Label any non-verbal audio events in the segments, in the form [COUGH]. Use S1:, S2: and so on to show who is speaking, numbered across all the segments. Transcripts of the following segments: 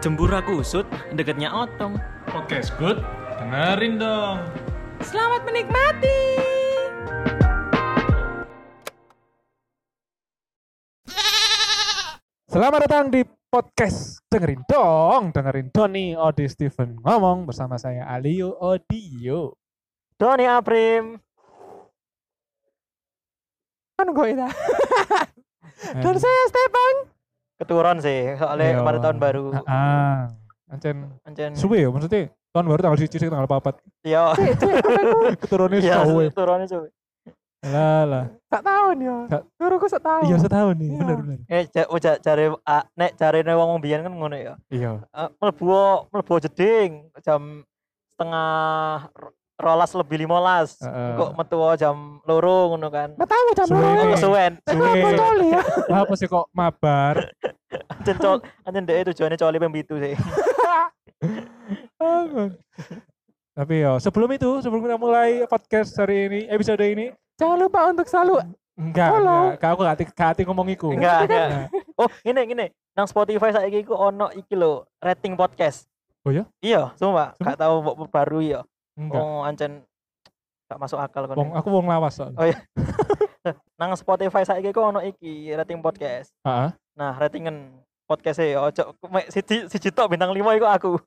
S1: Jembura kusut, deketnya otong.
S2: Podcast good, dengerin dong.
S3: Selamat menikmati.
S4: Selamat datang di podcast dengerin dong, dengerin Doni Odi Steven ngomong bersama saya Aliu Odio.
S1: Doni Aprim.
S3: Kan gue
S4: [LAUGHS]
S3: itu. Dan
S4: Eh,
S3: saya Stefan.
S1: Keturun sih, soalnya
S4: Iya.
S1: kemarin tahun baru. Hmm.
S4: Ah, ancen
S1: Ancen.
S4: suwe ya maksudnya tahun baru tanggal siji sing tanggal papat
S1: Iya. [LAUGHS]
S4: keturunnya
S1: Iya,
S4: suwe.
S1: keturunnya suwe.
S4: Lah lah.
S3: Tak tahun ya.
S4: Gak-
S3: Guru gue tak tahun.
S4: Iya setahun nih,
S3: Iya.
S4: bener bener.
S1: Eh, ja- oh, ja- jare ah, nek jarene wong mbiyen kan ngono ya.
S4: Iya.
S1: Eh, Mlebu mlebu jeding jam setengah ro- rolas lebih limolas.
S4: Heeh.
S1: Kok metu jam loro ngono kan.
S3: Nggak tahu jam
S4: Suwe.
S3: berapa.
S1: Kok kesuwen.
S4: Suwe.
S3: Kok coli ya?
S4: Lah apa sih kok mabar?
S1: Ancen col, ancen dhek tujuane coli ping pitu
S4: [LAUGHS]
S1: sih.
S4: Aman. Tapi ya, sebelum itu, sebelum kita mulai podcast hari ini, episode ini,
S3: Jangan lupa untuk selalu ya,
S4: enggak,
S3: Follow.
S4: enggak, Kak, aku gak hati- gak hati ngomong iku.
S1: Enggak, enggak.
S4: Nah,
S1: Oh, ngene ngene. Nang Spotify saiki iku ono iki lho, rating podcast.
S4: Oh ya?
S1: Iya, sumpah.
S4: Sumpah?
S1: Gak tau mbok baru ya.
S4: enggak.
S1: Oh, ancen gak masuk akal kon.
S4: Wong, aku wong lawas soalnya.
S1: Oh. Nang Spotify saiki iku ono iki rating podcast.
S4: Heeh.
S1: Nah, ratingen podcast e ojo mek siji siji tok bintang 5 iku aku.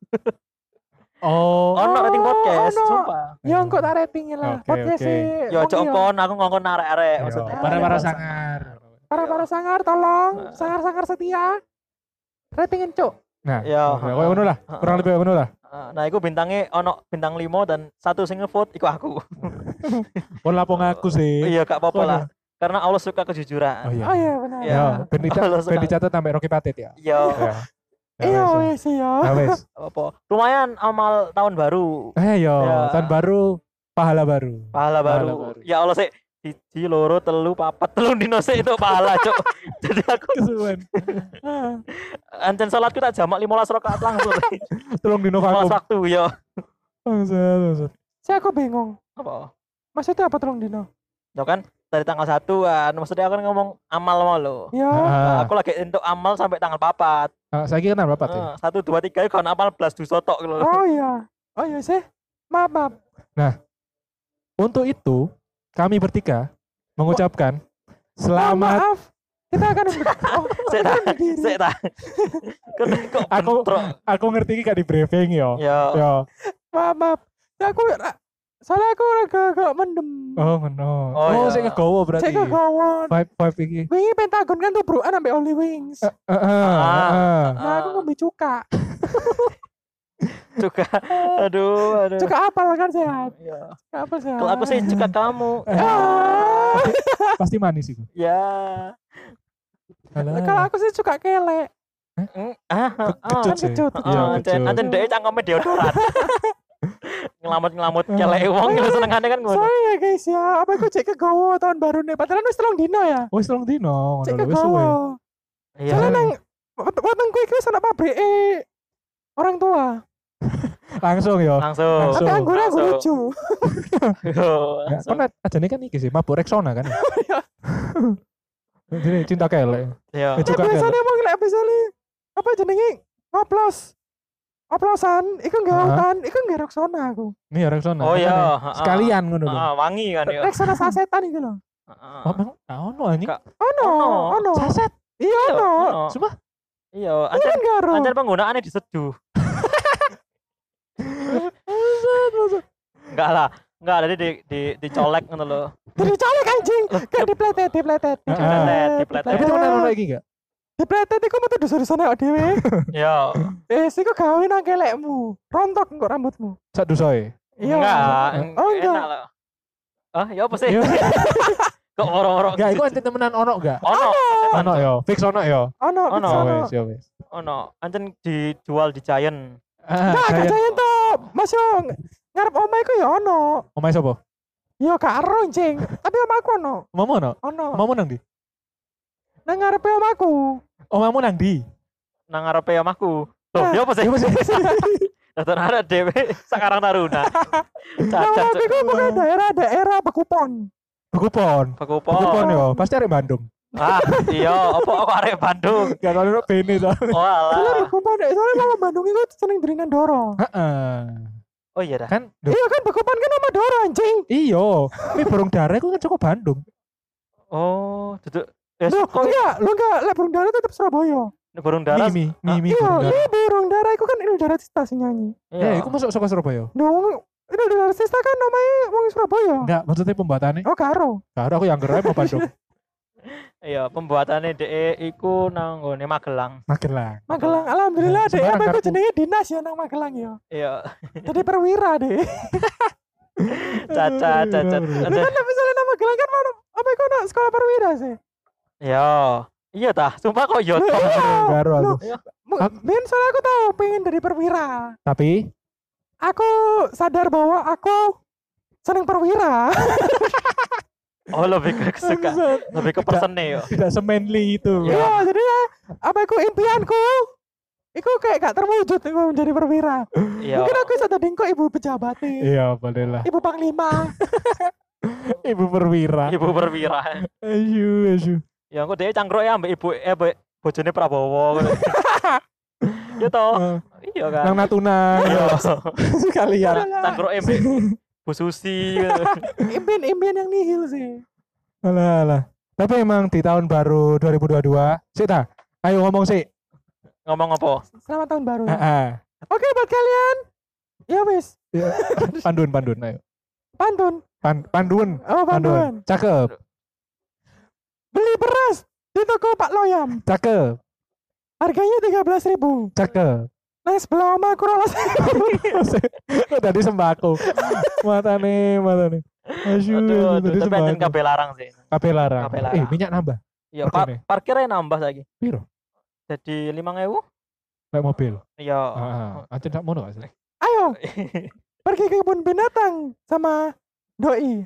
S4: Oh.
S1: Ono rating podcast,
S3: ono.
S1: sumpah.
S3: ya engkau tak ratingin lah.
S4: Oke,
S3: Podcast
S4: oke.
S3: sih.
S1: Ya ojo
S3: Iya.
S1: kon aku ngongkon arek-arek
S4: Ayo,
S1: maksudnya. Iya.
S4: Para-para sangar.
S3: Para-para sangar tolong. Sangar-sangar setia. Ratingin cuk.
S4: Nah, ya,
S1: Iya.
S4: kayak ngono lah. Kurang lebih kayak ngono lah.
S1: Heeh. Nah, iku bintangnya ono bintang 5 dan satu sing ngevote iku aku.
S4: Kon lapo ngaku sih.
S1: [LAUGHS] Iya, gak apa-apa
S4: Waduh.
S1: lah. Karena Allah suka kejujuran.
S4: Oh iya.
S3: Oh iya benar.
S1: Iya.
S4: Ya, ben dicat-
S1: Allah
S4: ben
S1: suka.
S4: dicatat sampai Rocky Patit ya.
S1: Iya,
S4: Ya. Ya,
S3: Iya
S4: wes.
S3: wes ya.
S4: Ya, wes.
S1: apa? Lumayan amal tahun baru,
S4: Eh, yo,
S1: Ya.
S4: tahun baru pahala baru.
S1: pahala baru.
S4: baru.
S1: Ya Allah sih, siji loro telu papat telu dino sik itu pahala, Cuk. Jadi aku
S4: Kesuwen.
S1: ancen salatku tak jamak 15 rakaat langsung.
S4: Tolong dino
S1: 15
S4: vakum.
S1: waktu ya.
S4: Bangsat, bangsat.
S3: Saya aku bingung.
S1: Apa?
S3: Maksudnya apa tolong Dino?
S1: Ya kan dari tanggal 1 kan. Maksudnya aku kan ngomong amal mau lo.
S3: Ya.
S4: Ah,
S1: Aku lagi untuk amal sampai tanggal papat.
S4: ah, Saiki kenal berapa tuh?
S1: Eh, Satu dua tiga itu kan amal belas duso tok gitu loh.
S3: Oh iya. Oh iya sih. Maaf maaf.
S4: Untuk itu, kami bertiga mengucapkan
S3: Mohon
S4: selamat.
S3: Maaf. Kita akan oh,
S1: Sik ta,
S3: berdiri.
S1: sik [LAUGHS] ta. Kan kok
S4: Aku
S1: bentrok.
S4: aku ngerti ini gak di briefing yo.
S1: Ya,
S4: Yo,
S3: maaf maaf Ya, aku ra- soalnya aku agak-agak mendem
S4: oh ngono.
S1: Oh,
S4: Oh,
S1: iya.
S4: sing ngegowo berarti.
S3: cek kawan
S4: Vibe vibe iki.
S3: wingi pentagon kan tubrukan ambek Holy Wings
S4: Eh, eh,
S1: Ah.
S4: eh.
S3: nah aku ngombe cuka
S1: [LAUGHS] juga. Aduh, aduh.
S3: cuka apel kan sehat
S1: Ya.
S3: cuka apel sehat
S1: Kalau aku sih juga kamu.
S3: Ah,
S4: Pasti manis itu.
S1: Ya.
S3: Eh, kalau aku sih cuka kelek
S1: Mm, Ah, ah, ah.
S4: kecut
S3: kan
S4: sih.
S3: kecut
S4: Iya,
S1: Ah, Ancen,
S4: kecut.
S1: ancen dhek cangkeme [LAUGHS] deodoran. Ah. Ngelamut-ngelamut kelek wong lho senengane kan ngono.
S3: sorry ya guys ya apa aku cek kegowo tahun baru nih padahal wis telung dino ya
S4: Wis tolong dino,
S3: cek
S4: ngono lho, wis suwe. Ya.
S3: kegowo
S1: Iya.
S3: soalnya nang wetengku iki wis ana pabrik orang tua
S4: Langsung yo.
S1: Langsung.
S3: tapi
S4: Langsung.
S3: anggurnya aku
S1: Langsung.
S3: lucu
S1: Yo,
S4: Ya,
S1: langsung.
S4: Kan ajane kan iki sih, mabuk Rexona
S3: [LAUGHS]
S4: kan.
S3: Oh, iya.
S4: Jadi cinta kelek.
S1: Yo.
S4: Eh,
S3: Cek
S4: Cuka
S3: biasanya mau ngelak biasanya apa jenenge ngoplos oplosan iku nggak
S4: Hah?
S3: hutan iku nggak roksona aku
S4: Nih ya, Rexona.
S1: Oh
S4: makanya.
S1: iya,
S4: Sekalian ngono lho.
S1: Heeh, wangi kan ya.
S3: roksona sasetan iku lho
S1: Heeh.
S4: Oh, emang Ah, ah, ono anjing.
S1: Ka-
S3: oh no
S1: Ono.
S3: oh no
S4: Saset.
S3: iya
S1: Iya,
S3: no
S1: ono.
S4: Sumpah.
S1: Iya,
S3: iya
S1: ancen
S3: kan garo
S1: ancen penggunaannya diseduh. Enggak lah. Enggak, jadi di di dicolek ngono lho.
S3: jadi colek anjing gak dipletet dipletet
S4: Ah.
S3: Eh, dipletet
S1: Dipletet,
S4: Tapi
S3: iya.
S4: temen ono iki gak?
S3: dipletet iku metu dosa-dosane awake dhewe
S1: Yo.
S3: eh siku gawe nang kelekmu rontok engko rambutmu
S4: Sak dusoe.
S3: Iya.
S1: Enggak,
S3: Oh,
S1: en-
S3: enggak.
S1: enak loh. Ah, ya apa sih?
S4: Iya.
S1: [LAUGHS] Kok orang-orang
S4: Gak iku anti temenan ono gak?
S1: Ono,
S4: Ono yo, fix ono yo.
S3: ono
S1: Ono.
S4: Oh,
S3: ono
S4: wes, yo wes.
S1: ono. Ancen dijual di Giant.
S4: Ah,
S3: nah
S4: saya-
S3: gak jayan to mas yo ngarep omah iku ya ono
S4: Omahe sapa?
S3: yo gak ero anjing tapi omahku ono
S4: Omamu ono?
S3: ono
S4: Omamu nang ndi?
S3: nang ngarepe [LAUGHS] omahku
S4: Omamu nang ndi?
S1: Nang ngarepe omahku. Loh,
S3: Ah,
S1: ya apa sih?
S4: Iya, Mas.
S1: Daftar arek dhewe [LAUGHS] sekarang taruna.
S3: Nah,
S1: Cacat.
S3: tapi gue bukan daerah-daerah Bekupon.
S4: Bekupon.
S1: Bekupon.
S4: Bekupon yo, pasti arek Bandung.
S1: Ah, iya, apa aku arek Bandung.
S4: Gak tau nek bene to.
S1: Oh,
S3: Soalnya
S1: alah.
S3: Bekopan, eh, soalnya malam Bandung itu seneng dirinan Doro.
S4: Heeh.
S1: Oh iya dah.
S4: Kan duh,
S3: Iya kan Bekopan kan nama Doro anjing.
S4: iya, tapi burung darah iku kan cukup Bandung.
S1: Oh, duduk ya
S3: Loh,
S1: kok
S3: enggak, lu enggak, lah burung dara tetap Surabaya.
S1: burung darah.
S4: Mimi, Mimi
S3: Iya,
S4: burung darah.
S3: iya burung dara itu kan Inul Daratista sing nyanyi.
S1: Iya.
S4: Ya, iku masuk saka Surabaya.
S3: Dong, Inul Daratista kan namanya wong Surabaya.
S4: Enggak, maksudnya pembuatannya.
S3: Oh, karo.
S4: Karo aku yang gerai mau Bandung.
S1: Iya, pembuatannya DE iku nang nggone Magelang.
S4: Makin lah.
S3: Magelang, alhamdulillah deh.
S4: Sembarang
S3: Apa itu
S4: kartu.
S3: jenenge dinas ya nang Magelang ya.
S1: Iya,
S3: Jadi perwira deh.
S1: caca caca.
S3: Lah kan tapi soalnya nang Magelang kan mana apa iku nak sekolah perwira sih.
S1: Iya. Iya tah, sumpah kok
S3: Loh,
S1: yo
S3: [LAUGHS]
S1: toh.
S3: iya.
S4: Baru aku.
S3: Loh, mu- Ben soalnya aku tahu pengen dari perwira.
S4: Tapi
S3: Aku sadar bahwa aku seneng perwira.
S1: Oh, lebih ke kesuka, lebih ke persene yo.
S4: tidak semanly itu.
S3: [LAUGHS]
S1: Iya.
S3: Iya, jadi ya apa iku impianku? Iku kayak gak terwujud iku menjadi perwira.
S1: Iya.
S3: Mungkin aku sadar dengko ibu pejabat nih.
S4: Iya, boleh lah.
S3: Ibu Panglima.
S4: Ibu perwira.
S1: Ibu perwira.
S4: Ayu, ayu.
S1: Ya engko DE cangkruk ya ambek ibu eh ambek bojone Prabowo. Ya toh.
S4: Eh,
S1: Iya kan.
S4: Nang Natuna
S1: Iya. ya.
S4: sekalian.
S1: Cangkruk e ambek Bu Susi.
S3: Impian-impian yang nihil sih.
S4: Alah, alah. Tapi emang di tahun baru 2022, sih ta? Ayo ngomong Ah, sih.
S1: Ngomong apa?
S3: Selamat tahun
S1: Hmm.
S3: baru. ya.
S4: Heeh.
S3: Oke buat kalian. Ya wis,
S4: Pandun, pandun, ayo.
S3: pantun.
S4: Pan, pandun,
S3: Oh, pantun.
S4: pandun. Cakep,
S3: Beli beras di toko Pak Loyam.
S4: cakep,
S3: Harganya 13.000 ribu.
S4: cakep.
S3: Nah sebelah oma aku rolas.
S1: Iya,
S4: Kok Tadi sembako. Mata nih, mata nih. Asyik,
S1: Aduh, aduh,
S4: tadi
S1: tapi anjing
S4: sembako.
S1: kabeh larang sih.
S4: Kape larang.
S1: Kape larang.
S4: Eh, minyak nambah.
S1: Iya,
S4: Oke
S1: par
S4: deh.
S1: parkirnya nambah lagi.
S4: Piro?
S1: Jadi 5000?
S4: Kayak mobil.
S1: Iya.
S4: Heeh. Aja ndak mono gak sih?
S3: [LAUGHS] Ayo pergi ke kebun binatang sama doi.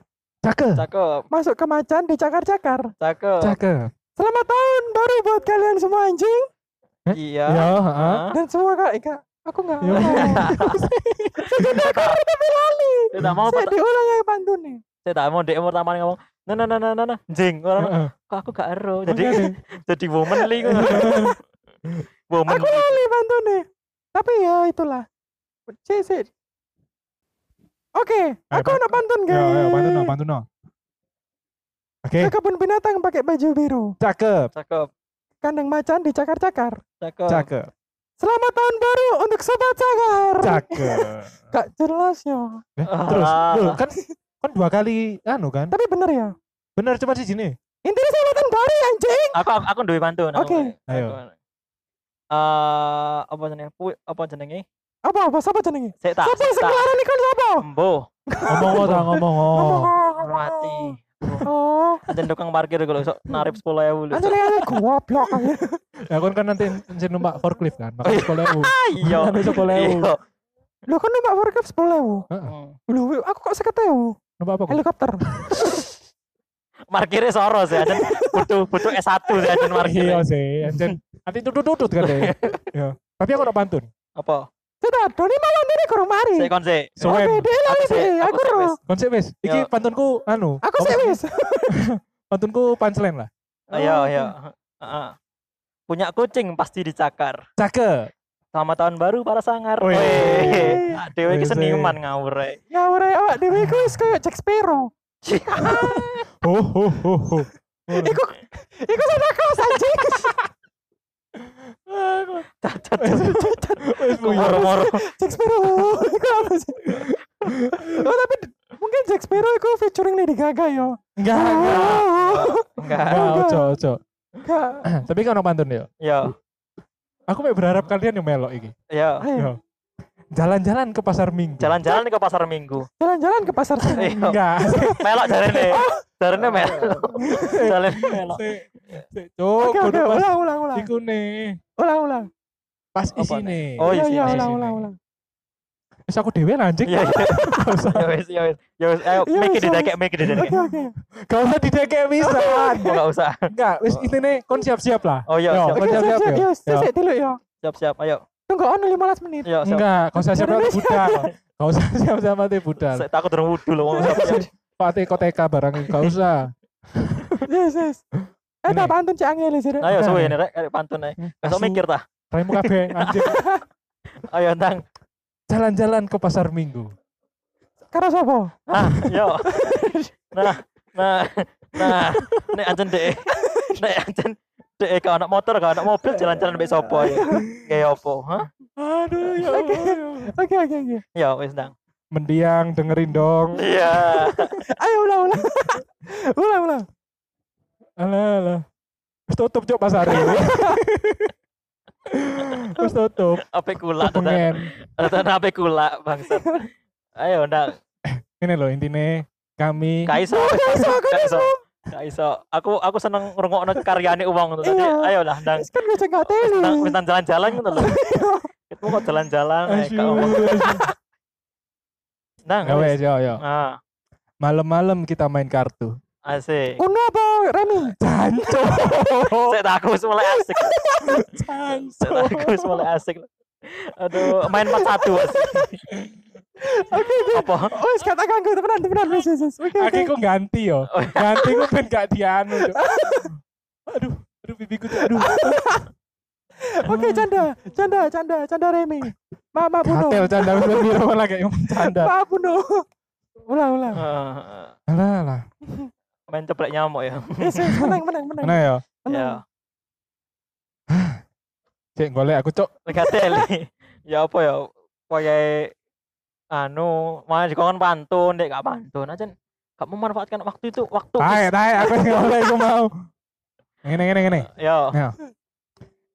S4: Cakep,
S1: Cakep,
S3: Masuk ke macan dicakar-cakar.
S1: cakep.
S4: cakep.
S3: Selamat tahun baru buat kalian semua anjing
S1: Iya.
S4: Ya, heeh.
S1: Hah?
S3: dan semua kak Eka. Aku nggak.
S4: Ya,
S3: mau. [LAUGHS] Tapi lali.
S1: Saya tak mau
S3: Saya
S1: pat-
S3: diulang ya pantunnya.
S1: saya tak mau dek pertama kali ngomong. Nah, nah, nah, nah, nah, nah. Jing, orang
S4: Heeh.
S1: kok aku gak ero.
S4: Makanya.
S1: Jadi jadi womanly ngono. [LAUGHS] Woman.
S3: Aku lali pantunnya. Tapi ya itulah. Cek sih. Oke, aku
S4: Pak.
S3: nak pantun
S4: Ya,
S3: guys.
S4: ya, bantu no, bantu no.
S3: Ke
S4: Oke,
S3: kebun binatang pakai baju biru.
S4: cakep,
S1: Cakep,
S3: Kandang macan dicakar-cakar.
S1: cakep.
S4: cakep,
S3: Selamat tahun baru untuk sobat cakar.
S4: cakep.
S3: Gak jelas ya.
S4: Eh,
S1: Ah.
S4: Terus, loh, kan kan dua kali anu kan?
S3: Tapi bener ya.
S4: Bener cuma ya? di sini.
S3: Intinya selamat tahun baru ya anjing.
S1: Aku aku, aku duwe pantun. aku.
S3: Oke.
S4: Ayo.
S1: Aku- Eh, apa jenenge? Pu- Apa jenenge?
S3: Apa apa siapa jenenge?
S1: Saya tak.
S3: Siapa yang
S1: saya tak.
S3: sekarang ini kan siapa?
S1: Embo,
S4: Ngomong oh, tak ngomong. Oh.
S3: Ngomong-ngomong.
S1: mati.
S3: Oh,
S1: Ada tukang parkir kalau sok narip 10.000 lho.
S3: anjir ya goblok.
S4: Ya kan kan nanti sing numpak forklift kan,
S1: Oh,
S4: makanya sekolah U.
S1: Iya.
S4: Kan sekolah U.
S1: Iya.
S3: Loh kan numpak warkop 10.000.
S1: Hmm.
S3: Loh, aku kok 50.000.
S4: Numpak apa kok?
S3: Helikopter.
S1: Markirnya Soros ya, dan butuh butuh S1 ya, dan
S4: Iya
S1: markirnya.
S4: sih, anjen. Nanti tutut-tutut kan deh. Ya. Tapi aku nak pantun.
S1: Apa?
S3: Sudah, Doni malam ini kurang mari.
S1: Saya konse.
S4: Soen.
S3: Oke, dia lali sih.
S1: Aku sih, aku
S3: iya, Aku
S1: sih,
S3: ro.
S1: wes.
S4: Konsep wis. Iki
S1: Yo.
S4: pantunku anu.
S3: Aku sih wis.
S4: [LAUGHS] Pantunku punchline lah.
S3: Oh,
S1: Ayo,
S3: iya.
S1: ayo. Heeh. Punya kucing pasti dicakar.
S4: Cakep.
S1: Selamat tahun baru para sangar.
S4: Weh.
S1: Weh. Ah, Dewe
S4: Weh,
S1: iki seniman ngawur. eh.
S3: Ya ora Iya. awak dhewe iku wis koyo Jack Sparrow.
S4: Ho ho ho ho.
S3: Iku iku sana kelas anjing.
S1: Cacat. cacat.
S4: Wis
S1: Moro-moro.
S3: Jack Sparrow. [LAUGHS] Iku apa sih? Oh, tapi d- mungkin Jack Sparrow iku featuring Lady Gaga yo.
S4: [LAUGHS] Enggak, enggak.
S3: Oh,
S1: Enggak.
S4: Enggak, ojo, ojo. [CLEARS THROAT]
S3: Enggak.
S4: Tapi kan ono pantun ya.
S1: Yo,
S4: Aku mek berharap kalian yang melok iki.
S1: yo.
S3: Ayo,
S4: Yo. Jalan-jalan ke pasar Minggu.
S1: Jalan-jalan ke pasar Minggu.
S3: jalan-jalan ke pasar sini.
S4: Eh,
S1: Iya.
S4: Enggak.
S1: Melok jarene.
S3: [LAUGHS] Oh.
S1: Jarene melok. Jarene melok.
S4: Sik, sik,
S3: Oke,
S4: Cuk,
S3: oke,
S4: kudu pas
S3: ulang, ulang, ulang.
S4: iku nih.
S3: Ulang, ulang.
S4: Pas
S1: Apa
S4: isine. Oh,
S1: Oh, iya
S3: Iya,
S1: sih,
S3: iya,
S1: iya
S3: ulang,
S4: sih.
S3: ulang, ulang.
S4: wis aku dhewe lah anjing.
S1: Iya, iya.
S4: Gak usah.
S1: Ya wis, ya wis. Ya wis, ayo
S3: Iya, wis,
S1: mikir
S3: ya
S1: didekek, mikir didekek.
S3: Oke, oke.
S4: Gak usah didekek pisan.
S1: Enggak usah.
S4: Enggak, wis intine kon siap-siap lah.
S1: Oh iya,
S4: Yo,
S1: siap.
S4: kon
S3: Oke, siap, siap,
S4: ya.
S3: yo. Siap,
S4: Yo.
S3: siap, dulu yo.
S1: Siap-siap, ayo.
S3: Tunggu on 15 menit.
S1: Yo, siap.
S4: Enggak, kau usah siap
S3: Jangan
S4: nanti budal. Kau usah [LAUGHS] siap-siap nanti budal.
S1: Saya takut
S3: [LAUGHS]
S1: durung wudu loh. ngomong siapa.
S4: Pati koteka barang enggak usah.
S3: Yes, yes. Eh, tak
S4: Ini.
S3: pantun cek angel sih.
S1: Ayo suwe nih rek arek pantun ae.
S3: Hmm.
S1: Besok
S4: Asu-
S1: mikir tah.
S4: Raimu kabeh anjir.
S1: Ayo tang.
S4: Jalan-jalan ke pasar Minggu.
S3: Karo sapa?
S1: Ah, yo. Nah, nah, nah, nek ancen dek, nek ancen dek ke anak motor, ke anak mobil jalan-jalan mbek sapa ya? Kayak opo, ha?
S4: Aduh ya
S3: Oke.
S4: Allah, ya Allah.
S3: Oke, oke, oke.
S1: Ya wis nang.
S4: Mendiang dengerin dong.
S1: Iya.
S3: Ayo ulang, ulang. ulang, ulang.
S4: Alah alah. Wis tutup cok pasar ini. Wis tutup.
S1: Ape kula tetan.
S4: Kepengen.
S1: Tetan ape kula bangsat. Ayo nang.
S4: Ini loh intine kami
S1: Kaiso. Kaiso, kaiso. Kaiso. Aku aku seneng ngrungokno karyane wong to.
S3: Iya.
S1: Ayo lah nang.
S3: Wis kan gue cek nggak teli.
S1: Nang wis nang jalan-jalan ngono lho. Ketemu kok jalan-jalan ae
S4: Asyik.
S1: gak ngomong. Nang.
S4: Ya wes
S1: wis.
S4: yo yo.
S1: Ah,
S4: Malam-malam kita main kartu.
S1: asik.
S3: Uno apa Remi?
S4: Jancu.
S1: [LAUGHS] Saya tak aku mulai asik.
S4: Jancu.
S1: Setelah aku [LAUGHS] wis mulai asik. Aduh, main 41 asik.
S3: Oke,
S1: [LAUGHS]
S3: oke.
S1: Apa?
S3: Oh, wis kata kanggo temenan, temenan wis wis. wis. Oke, oke.
S4: Aki ku ganti yo. Ganti ku ben gak dianu cok. Aduh, aduh bibiku cok. Aduh.
S3: Oke, canda, canda, canda, canda Remi. Mama Buno.
S4: Hotel canda wis ben biro malah kayak ngomong canda.
S3: Mama Buno. Ulang, ulang.
S1: Eh,
S4: Alah alah.
S1: main ceplek nyamuk ya.
S3: Wis wis menang, menang, menang.
S4: Mana yo?
S1: Ya,
S3: Menang.
S4: Cek golek aku cok.
S1: lihat teli. Ya apa ya? Koyai anu, mana dikongkon pantun, dek gak pantun aja. Gak memanfaatkan waktu itu, waktu.
S4: Tae tae aku yang golek aku mau. Ngene ngene ngene.
S1: Ya,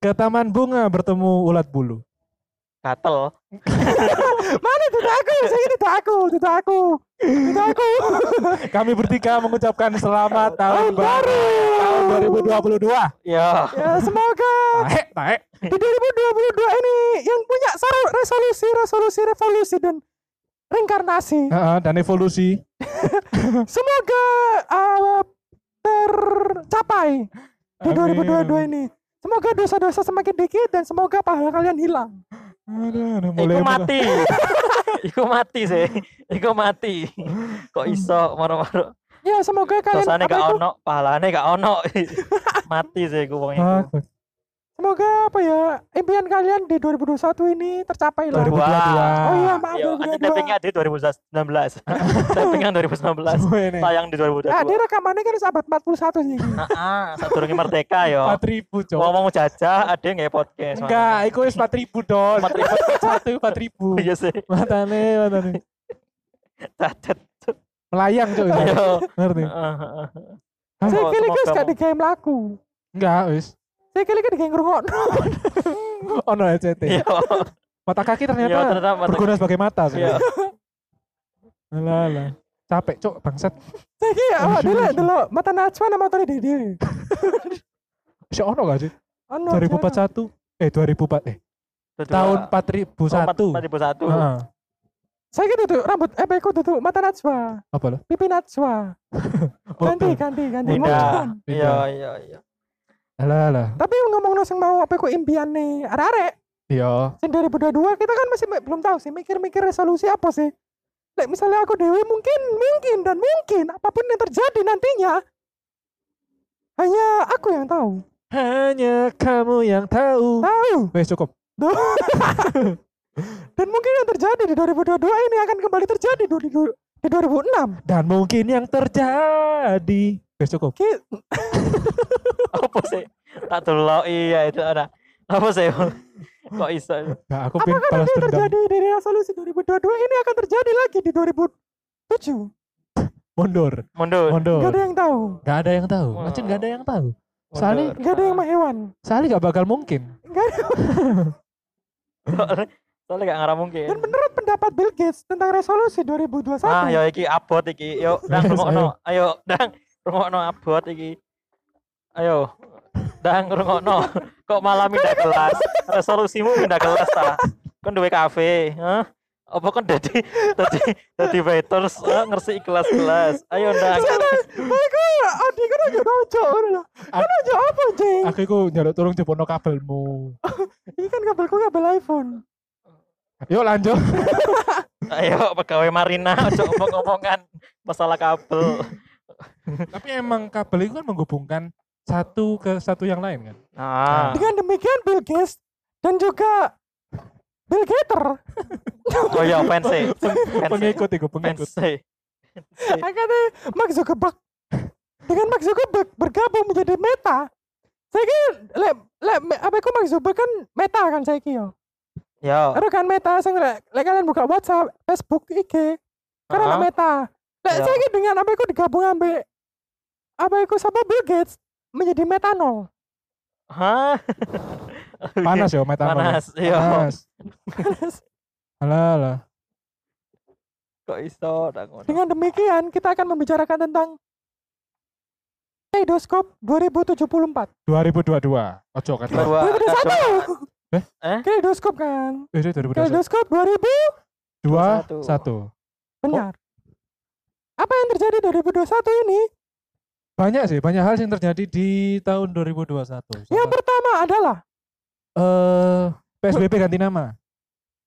S4: Ke taman bunga bertemu ulat bulu.
S1: gatel.
S3: Mana itu aku? Saya ini tuh aku, itu tuh aku. Itu tuh aku.
S4: Kami bertiga mengucapkan selamat
S3: Tahun
S4: tahun baru
S3: baru.
S4: tahun 2022.
S1: Ya,
S3: Ya, semoga
S4: Tae tae.
S3: di 2022 ini yang punya sor- resolusi, resolusi, revolusi dan reinkarnasi.
S4: Heeh, dan evolusi.
S3: Semoga uh, tercapai di
S4: Amin.
S3: 2022 ini. Semoga dosa-dosa semakin dikit dan semoga pahala kalian hilang.
S4: Aduh, aduh, mulai
S1: iku mati. [LAUGHS] Iku mati sih. Iku mati. Kok iso moro-moro
S3: Ya, semoga kalian
S1: dosane
S3: apa
S1: gak
S3: itu?
S1: ono, pahalane gak ono. [LAUGHS] mati sih iku wong iku.
S4: Ah,
S3: Semoga apa ya? Impian kalian di 2021 ini tercapai lah.
S4: 2022.
S3: Oh iya, maaf
S1: Ayo, nanti
S3: 2022.
S1: tappingnya di
S4: [LAUGHS]
S1: 2019. Tappingnya 2019.
S4: Semua ini.
S1: Tayang di
S3: Ah, dia
S1: 2022.
S3: rekamannya kan abad 41 sih.
S1: Heeh, sadurunge ah, merdeka yo.
S4: 4000 cok.
S1: Ngomong jajah, ada nggak podcast? Mas?
S4: Enggak, iku wis 4000 dong.
S1: 4000.
S4: Satu 4000.
S1: Iya sih,
S4: Matane, matane.
S1: cacat.
S4: Melayang cok. ini.
S1: Yo.
S4: Ngerti?
S1: Heeh, heeh.
S3: Saya
S1: Semoga-
S3: kira guys gak
S1: semoga-
S3: di game laku.
S4: Enggak, wis.
S3: Saya kira di game ngerungokno.
S4: Ono ECT.
S1: Yo,
S4: Mata kaki
S1: yo,
S4: ternyata
S1: Iya. ternyata mata-
S4: berguna sebagai mata sih.
S1: Iya.
S4: Alah, alah. Capek, Cok, bangsat.
S3: [LAUGHS] Saya kira
S4: Aduh,
S3: awak dulu
S4: aduh.
S3: dulu mata Najwa nama tadi Dede.
S4: Si ono gak sih?
S3: Oh, no, jangan.
S4: 2041. Eh, 2004 eh
S1: Kedua.
S4: tahun Ah,
S1: Oh,
S4: 4001.
S1: 4001.
S4: Heeh.
S3: Saya kira tuh rambut eh aku tuh mata Najwa,
S4: Apa lah?
S3: pipi
S4: [LAUGHS]
S3: Najwa. Ganti,
S4: Bodoh.
S3: ganti, ganti.
S4: Bunda.
S1: Pindah.
S3: Mungkin.
S4: Beda.
S1: Iya, iya, iya.
S4: Alah, alah.
S3: Tapi ngomong no sing mau apa ku impian nih arek-arek
S4: Iya.
S3: sing 2022 kita kan masih me- belum tahu sih mikir-mikir resolusi apa sih. Lek misalnya aku dewe mungkin mungkin dan mungkin apapun yang terjadi nantinya hanya aku yang tahu.
S4: Hanya kamu yang tahu.
S3: Tahu.
S4: Wes cukup.
S3: Dan mungkin yang terjadi di 2022 ini akan kembali terjadi du- di, du- di 2006.
S4: Dan mungkin yang terjadi. Wes cukup.
S3: Ki-
S1: Apa sih? Tak dulu, iya itu ada. Apa sih? Kok iso?
S4: Nah, aku pengen
S3: apakah
S4: balas
S3: nanti yang
S4: dendam.
S3: terjadi di resolusi 2022 ini akan terjadi lagi di 2007?
S4: Mundur.
S1: Mundur.
S3: Gak
S4: Mundur.
S3: ada yang tahu.
S4: Gak ada yang tahu.
S1: Wah.
S4: Macam gak ada yang tahu.
S1: mundur.
S4: Soalnya-
S3: Gak ada yang hewan.
S4: Sali gak bakal mungkin.
S3: Gak ada.
S1: Soalnya soalnya gak ngarah mungkin.
S3: Dan menurut pendapat Bill Gates tentang resolusi 2021,
S1: Ah, yo iki abot iki. Yo, dang
S4: Wes,
S1: rungokno. Ayo, dang rungokno abot iki. Ayo. Dang rungokno. Kok malah pindah kelas? Resolusimu pindah kelas ta? Kon duwe kafe, hah? Apa kon dadi dadi dadi waiters ah, ngersi kelas-kelas. Ayo dang.
S3: Mereka Adi kan aja dojo lah. Kan
S4: Ak-
S3: aja apa jeng?
S4: Aku iku njaluk tolong jebono [LAUGHS] kabelmu.
S3: Ini kan kabelku kabel iPhone.
S4: Yuk lanjut.
S1: Ayo pegawai Marina ojo ngomong-ngomongan masalah kabel.
S4: Tapi emang kabel itu kan menghubungkan satu ke satu yang lain kan.
S1: Ah,
S3: Dengan demikian Bill Gates dan juga Bill Gator
S1: oh iya, fans sih.
S4: Pengikut itu pengikut.
S1: Fans E. sih.
S3: akan Mark Zuckerberg dengan Mark Zuckerberg bergabung menjadi Meta. Saya kira lek lek me- apa iku Mark Zuckerberg kan Meta kan saya kira.
S1: Yo,
S3: Aduh kan Meta sing lek lek kalian buka WhatsApp, Facebook, IG karena
S1: Ah.
S3: anak Meta. Lek
S1: Ya.
S3: saya kira dengan apa iku digabung ambek apa iku sama Bill Gates menjadi [LAUGHS] metanol.
S1: hah?
S4: [LAUGHS] Panas ya metanol.
S1: Panas, iya.
S4: Panas. Alah, alah.
S1: Kok iso tak ngono?
S3: Dengan demikian kita akan membicarakan tentang Kaleidoskop 2074.
S4: 2022. Ojo kan.
S1: Dua,
S3: Kaleidoskop kan.
S4: Eh, itu 2021.
S3: Kaleidoskop 2000
S4: Dua,
S1: Satu.
S4: satu.
S3: benar. Apa yang terjadi 2021 ini?
S4: Banyak sih, banyak hal yang terjadi di tahun 2021.
S3: Yang
S4: Sampai-
S3: pertama adalah
S4: eh PSBB ganti nama.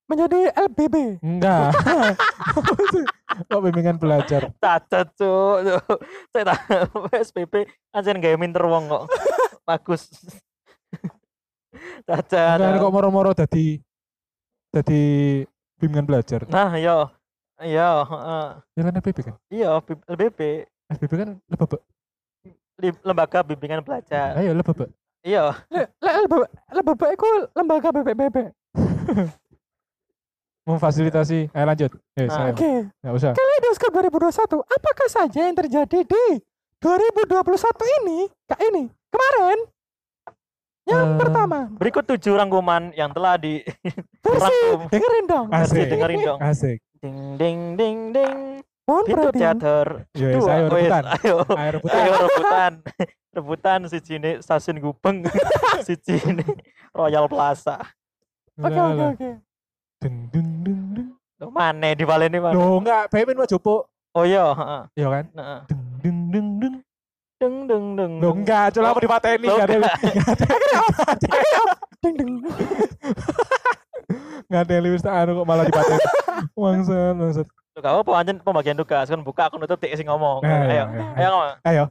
S3: menjadi LBB.
S4: [LAUGHS] Enggak. Kok bimbingan belajar?
S1: cacat cuk. [LAUGHS] Cuk. Saya tak [LAUGHS] PSBB anjen gawe minter wong
S4: [LAUGHS]
S1: kok. Bagus. [LAUGHS] Cacat.
S4: Enggak kok moro-moro jadi jadi bimbingan belajar.
S1: Nah, yo. Yo, heeh.
S4: Ya kan FBB kan?
S1: iya B- LBB
S4: FBB kan lebebek.
S1: Li- lembaga bimbingan belajar.
S4: Ayo lebebek.
S1: Iya,
S3: Le- le- LBB, LBB itu lembaga BPBB.
S4: Memfasilitasi. Ayo lanjut. Eh,
S1: Nah.
S4: saya
S3: Oke.
S4: enggak usah.
S3: Kaleidoskop 2021. Apakah saja yang terjadi di 2021 ini? Kak ini. Kemarin. Yang
S4: Eh,
S3: pertama.
S1: berikut tujuh rangkuman yang telah di
S3: Versi
S1: rangkum.
S3: dengerin dong.
S1: Versi
S4: Asik.
S1: dengerin dong.
S4: Asik.
S1: Ding ding ding ding.
S3: Mohon
S1: Pintu
S3: perhatian.
S1: teater.
S4: Yo,
S1: Dua,
S4: Eh, saya
S1: wes,
S4: rebutan.
S1: Ayo.
S4: Ayo rebutan.
S1: Ayo rebutan. rebutan siji ini stasiun
S4: [LAUGHS]
S1: Gubeng. siji ini Royal Plaza.
S3: Oke
S4: Lah,
S3: oke
S4: lah.
S3: oke.
S4: Deng deng deng deng.
S1: Loh, Mane di Baleni mana?
S4: Loh, enggak, Pemen mau jopo.
S1: Oh iya, heeh.
S4: Iya kan?
S1: Nah,
S4: Deng deng deng deng.
S1: deng deng deng.
S4: Loh,
S1: deng.
S4: enggak, coba aku dipateni
S1: Hmm. Loh,
S4: enggak ada
S3: Ding ding.
S4: enggak ada yang liwis tak anu kok malah dipateni. Bangsat, bangsat.
S1: Loh, gak apa anjen pembagian tugas kan buka aku nutup tik sing ngomong.
S4: Nah,
S1: Ayo.
S4: ayo,
S1: Ayo ngomong.
S4: Ayo.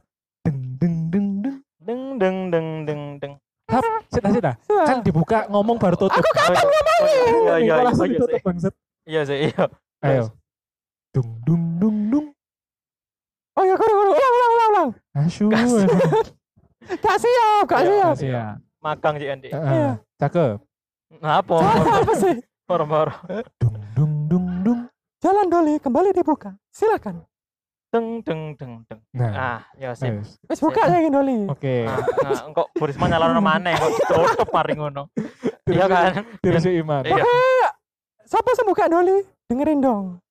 S4: Deng deng deng deng.
S1: Deng deng deng deng deng.
S4: Tap, sita sita. Kan dibuka ngomong baru tutup.
S1: Aku kan ngomong. Iya iya
S4: Kok
S1: iya,
S4: langsung
S1: iya
S4: ditutup
S1: sih.
S4: bangsat.
S1: Iya sih, iya.
S4: Ayo. Dung dung dung dung.
S3: Oh ya kurang kurang ulang ulang ulang.
S4: Asyuh.
S1: Kasih.
S3: Gak siap, gak
S1: Iya.
S3: siap.
S4: Kasih
S1: [LAUGHS]
S4: ya.
S1: Magang sih Andi.
S3: Iya.
S4: Heeh. Cakep.
S1: Nah,
S4: [LAUGHS]
S1: apa?
S3: Salah apa sih?
S1: Boro-boro.
S4: Dung dung dung dung.
S3: Jalan Doli kembali dibuka. Silakan.
S1: Deng deng deng deng.
S4: Nah.
S1: Ah, ya sip.
S4: ayo.
S3: Wis buka ya Doli.
S4: Oke.
S1: Nah, nah, engkau Burisma nyalono maneh kok ditutup mari ngono. Iya kan?
S4: [LAUGHS] Dirisi iman.
S1: Iya.
S3: Siapa sih buka Doli? Dengerin dong.
S4: Oh.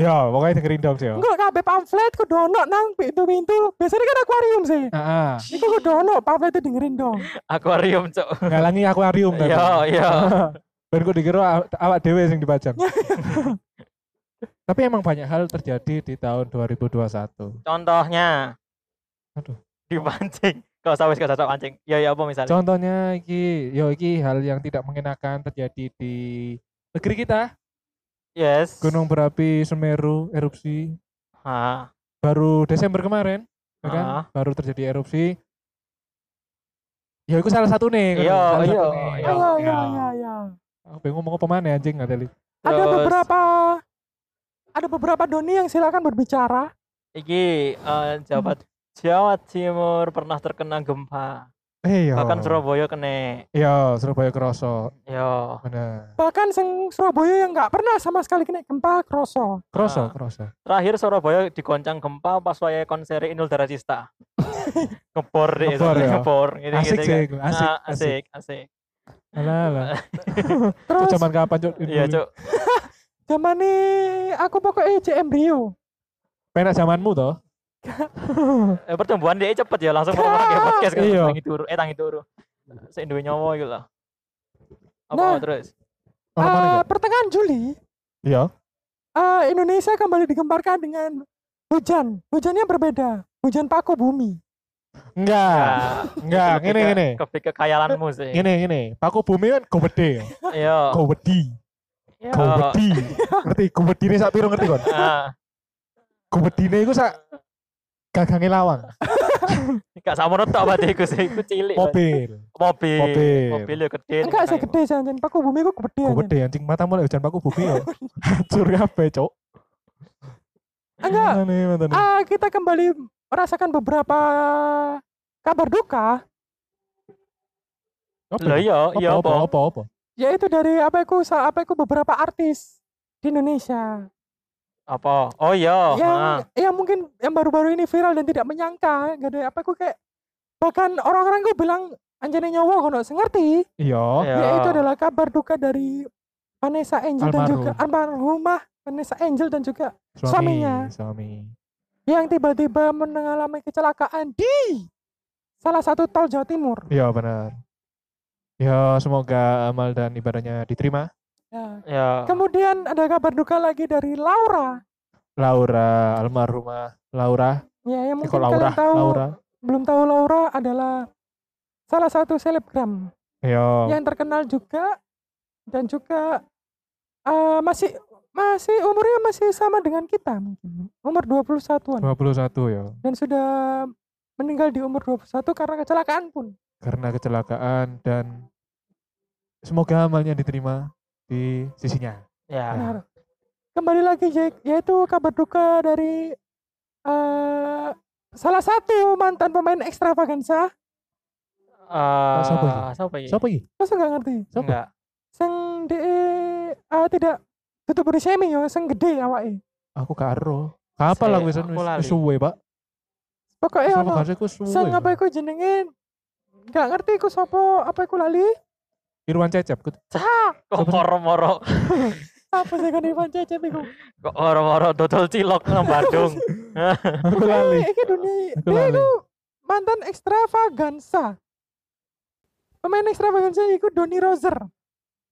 S4: Ya, pokoknya dengerin dong sih. ya.
S3: Enggak kabeh pamflet kudu ono nang pintu-pintu. Biasanya kan akuarium sih.
S1: [LAUGHS]
S4: Heeh.
S3: Iku kudu ono pamflet dengerin dong.
S1: Akuarium, Cuk.
S4: Ngalangi akuarium tadi.
S1: Iya, iya.
S4: Ben kok dikira aw- awak dewe sing
S1: [LAUGHS]
S4: dipajang. Tapi emang banyak hal terjadi di tahun 2021.
S1: Contohnya.
S4: Aduh.
S1: Dipancing. Kau usah wis gak usah pancing. Ya ya apa misalnya?
S4: Contohnya iki, yo iki hal yang tidak mengenakan terjadi di negeri kita.
S1: Yes.
S4: Gunung berapi Semeru erupsi
S1: Ah,
S4: baru Desember kemarin, ya kan?
S1: Ah.
S4: Baru terjadi erupsi. Ya itu salah satu nih.
S1: Iya,
S4: salah
S1: iya,
S4: satu nih.
S1: iya.
S3: Iya, iya, iya, iya.
S4: Aku pengen ngomong apa mana anjing nggak teli.
S3: Ada
S1: Terus.
S3: beberapa ada beberapa doni yang silakan berbicara.
S1: Iki eh, Jawa Jawa Timur pernah terkena gempa.
S4: Eh, iya.
S1: Bahkan Surabaya kena.
S4: Iya, Surabaya Kroso.
S1: Yo,
S4: Bener.
S3: Bahkan sing Surabaya yang nggak pernah sama sekali kena gempa kroso.
S4: Kroso,
S1: Ah.
S4: Kroso.
S1: terakhir Surabaya digoncang gempa pas wayahe konser
S4: [LAUGHS]
S1: Inul Daratista. Ngebor deh,
S4: Ngebor, ya.
S1: ngebor. Gitu,
S4: Asik
S1: gitu,
S4: sih,
S1: gitu.
S4: itu, asik,
S1: Ah,
S4: asik.
S1: asik, asik.
S4: Alah,
S1: [LAUGHS]
S4: alah. Itu
S3: Terus
S4: zaman kapan, Cuk?
S1: Iya, Cuk.
S3: zaman nih aku pokoknya JM Rio.
S4: Penak zamanmu toh?
S1: Eh, pertumbuhan dia cepet ya, langsung orang-orang
S4: [LAUGHS]
S1: kayak podcast kan.
S4: Iya.
S1: Tangi turu, eh tangi turu. Sik duwe nyawa gitu lah.
S3: Nah.
S1: Apa terus?
S4: Ono mana
S1: Ah.
S3: Eh,
S4: Cuk?
S3: pertengahan Juli,
S4: Iya.
S3: eh, Indonesia kembali digemparkan dengan hujan. Hujannya berbeda. Hujan paku bumi.
S4: Enggak.
S1: Nah.
S4: Enggak, Ah, ngene ngene. Ya.
S1: Kepik kekayalanmu sih.
S4: Ngene ngene. Paku bumi kan gowede.
S1: Iya.
S4: Gowedi.
S1: Iya.
S4: Gowedi. Ngerti? Gowedine sak piro ngerti kon?
S1: Ah,
S4: Gowedine iku sak Gagange lawang.
S1: Gak sama tok berarti iku sih, iku cilik.
S4: Mobil.
S1: Mobil.
S4: Mobil.
S1: Mobil ya gede. nih,
S3: Enggak sih
S1: Bang.
S3: gede jangan paku bumi ku gede.
S4: Gue
S3: anjen.
S4: gede anjing matamu lek hujan paku bumi yo. Hancur kabeh, Cok.
S3: Enggak.
S4: Mana nih, mana nih?
S3: Ah, kita kembali merasakan beberapa kabar duka
S4: Apa
S1: Lho
S4: ini?
S1: iya, iya
S4: apa
S1: apa?
S4: apa apa?
S3: yaitu dari apa aku sa- apa aku beberapa artis di Indonesia
S1: Apa? Oh iya.
S3: yang
S1: ha.
S3: yang mungkin yang baru-baru ini viral dan tidak menyangka gak ada apa aku kayak bahkan orang-orang gue bilang anjane nyawa kono sengerti
S4: Iya.
S1: Iya.
S3: yaitu adalah kabar duka dari Vanessa Angel dan juga almarhumah Vanessa Angel dan juga
S4: Suami,
S3: Suaminya.
S4: Suami.
S3: yang tiba-tiba mengalami kecelakaan di salah satu tol Jawa Timur
S4: Iya benar. Ya semoga amal dan ibadahnya diterima.
S3: Ya.
S1: Ya.
S4: Ah.
S3: kemudian ada kabar duka lagi dari Laura
S4: Laura almarhumah Laura.
S3: ya yang
S4: Eh,
S3: mungkin
S4: kok Laura?
S3: kalian tahu
S4: Laura.
S3: belum tahu Laura adalah salah satu selebgram
S4: Iya.
S3: yang terkenal juga dan juga eh, masih masih umurnya masih sama dengan kita mungkin umur 21-an
S4: 21 ya.
S3: dan sudah meninggal di umur 21 karena kecelakaan pun
S4: karena kecelakaan dan semoga amalnya diterima di sisinya.
S1: Ya.
S3: Benar. kembali lagi Jack yaitu kabar duka dari eh, salah satu mantan pemain ekstravaganza
S1: Eh,
S4: Oh, siapa itu?
S1: Siapa iki?
S4: Siapa ini?
S3: masa nggak ngerti
S4: Siapa?
S1: Enggak.
S3: sing de eh, tidak tutup body shaming ya sing gede awake
S4: Aku karo. Apa
S1: Saya-
S4: lah wis
S1: aku lali.
S4: wis suwe, Pak?
S3: pokoknya
S4: Siapa
S3: ono
S4: kasih aku suwe.
S3: Sang apa iku jenenge? Gak ngerti iku sapa, apa iku lali?
S4: Irwan Cecep. Kut-
S1: Kok
S4: Siapa?
S1: moro-moro
S3: Apa sih kan Ivan Cecep iku?
S1: kok moro-moro dodol cilok
S4: [LAUGHS]
S1: nang Bandung.
S4: Aku
S3: Pokoknya
S4: lali.
S3: Eh, iki dunia
S4: Aku
S3: dia
S4: lali.
S3: iku mantan ekstravaganza. Pemain ekstravaganza iku Doni Rozer.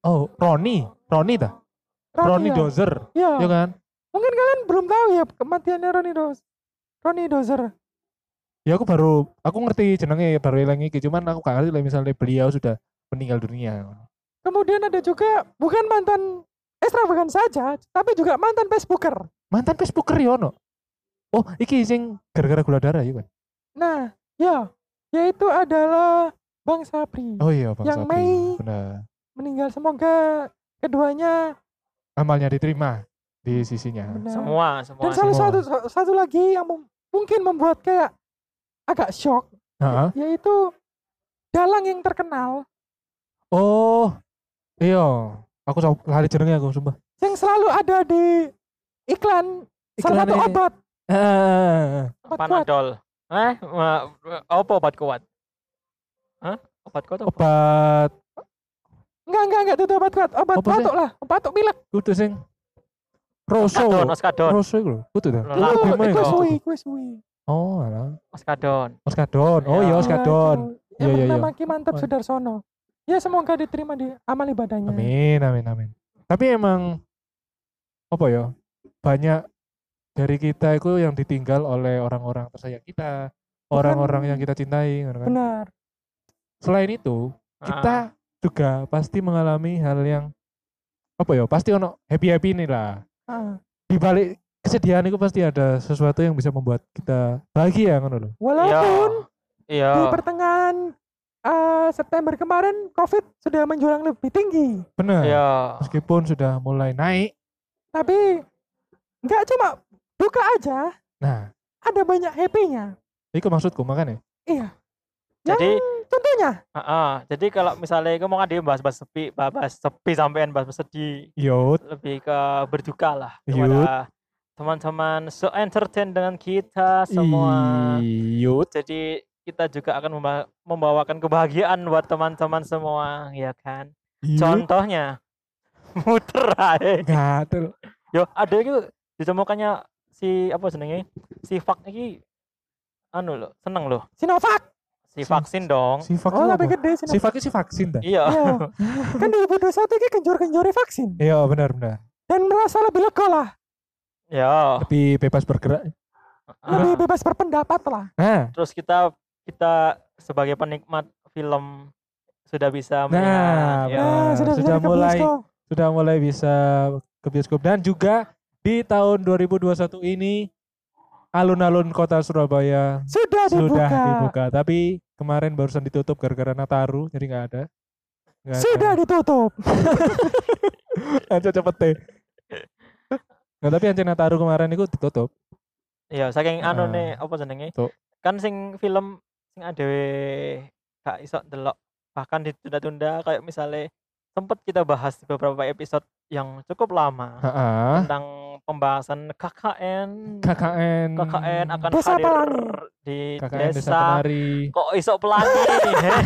S4: Oh, Roni. Roni dah. Roni Dozer.
S3: Ya.
S4: Iya kan?
S3: Mungkin kalian belum tahu ya kematiannya Roni Dozer. Roni Dozer.
S4: Ya aku baru aku ngerti jenenge baru eling iki, cuman aku gak ngerti lah misalnya beliau sudah meninggal dunia.
S3: Kemudian ada juga bukan mantan ekstravaganza saja, tapi juga mantan Facebooker.
S4: Mantan Facebooker ya ono. Oh, iki sing gara-gara gula darah ya kan.
S3: Nah, ya, yaitu adalah Bang Sapri
S4: Oh iya, Bang
S3: Yang
S4: Sapri.
S3: Mei.
S4: Benar.
S3: meninggal. Semoga keduanya
S4: Amalnya diterima di sisinya.
S3: benar.
S1: Semua, semua.
S3: Dan salah
S4: semua.
S3: satu satu lagi yang mem- mungkin membuat kayak agak shock
S4: Heeh.
S3: yaitu dalang yang terkenal
S4: Oh, iya. Aku tau lali jenenge aku sumpah.
S3: yang selalu ada di iklan salah satu
S4: Iklane-
S3: obat
S4: Eh,
S3: obat kuat
S1: Panadol. Eh, ma- apa obat kuat? Hah? Obat kuat apa?
S4: obat
S3: enggak enggak enggak itu obat kuat obat
S4: Apa sih?
S3: batuk lah batuk pilek
S4: kudu sing roso.
S1: Oskadon, oskadon.
S4: Roso iku lho, kudu ta.
S1: Lah,
S3: Itu-
S1: gimana
S3: itu
S1: kok?
S3: suwi itu suwi
S4: Oh, alah.
S1: Oskadon.
S4: Oskadon. Oh iya,
S1: Ya.
S4: oskadon.
S3: Iya,
S4: Iya,
S3: Nah, yang
S4: iya, iya.
S3: bernama Ki Mantap
S4: Apa?
S3: Sudarsono ya semoga diterima di amal ibadahnya
S4: Amin, amin, amin. Tapi emang apa ya? Banyak dari kita itu yang ditinggal oleh orang-orang tersayang kita, orang-orang yang kita cintai, ngono kan.
S3: benar
S4: Selain itu, kita
S1: Ah,
S4: juga pasti mengalami hal yang apa ya pasti ono happy happy ini lah
S3: Ah.
S4: di balik kesedihan itu pasti ada sesuatu yang bisa membuat kita bahagia ngono loh
S1: iya.
S3: walaupun
S1: Iya.
S3: di pertengahan eh, September kemarin COVID sudah menjulang lebih tinggi.
S4: benar
S1: Iya.
S4: meskipun sudah mulai naik
S3: Tapi nggak cuma duka aja,
S4: nah
S3: ada banyak happy-nya.
S4: itu maksudku makanya
S1: Jadi,
S3: Yang contohnya
S1: ah, ah, jadi kalau misalnya kamu mau dia bahas-bahas sepi, bahas sepi sampean bahas sedih,
S4: yot
S1: lebih ke berduka lah
S4: Yut.
S1: kepada teman-teman so entertain dengan kita semua.
S4: yot
S1: Jadi kita juga akan memba- membawakan kebahagiaan buat teman-teman semua, ya kan?
S4: Iya.
S1: Contohnya [LAUGHS] muter ae.
S4: gatel
S1: Yo, ada itu ditemukannya si apa jenenge? Si Fak iki anu loh, seneng loh.
S3: Sinovac.
S4: Si-
S1: Si vaksin dong.
S4: si vaksin
S3: Oh,
S4: apa?
S3: lebih gede
S4: si
S3: Sinovac.
S4: vaksin si vaksin dah
S1: Iya.
S3: Iya. kan 2021 ini kenjor-kenjornya vaksin.
S4: iya benar benar
S3: Dan merasa lebih lega lah.
S1: Ya.
S4: lebih bebas bergerak
S1: Ah,
S3: Lebih bebas berpendapat lah.
S4: nah
S1: Terus kita kita sebagai penikmat film sudah
S4: Nah,
S1: bisa melihat. ya.
S4: Ah,
S3: Nah, sudah, bisa
S4: sudah
S3: ke
S4: mulai.
S3: bioskop.
S4: sudah mulai bisa ke bioskop dan juga di tahun 2021 ini alun-alun kota Surabaya
S3: Sudah dibuka.
S4: sudah dibuka, tapi kemarin barusan ditutup gara-gara Nataru, jadi nggak ada. Nggak [LAUGHS]
S3: Sudah ditutup.
S4: ada. Ancol cepet deh. Nah, tapi Ancol Nataru kemarin itu ditutup.
S1: Iya, saking anu
S4: Ah,
S1: nih apa jenenge?
S4: tuh.
S1: Kan sing film sing adewe gak iso delok bahkan ditunda-tunda kayak misalnya sempet kita bahas di beberapa episode yang cukup lama
S4: Heeh.
S1: tentang pembahasan KKN
S4: KKN.
S1: KKN akan
S3: Desa
S1: hadir
S3: Pelangi.
S1: di
S4: KKN Desa
S1: desa,
S4: Penari.
S1: kok iso
S4: [LAUGHS]
S1: pelangi Heh,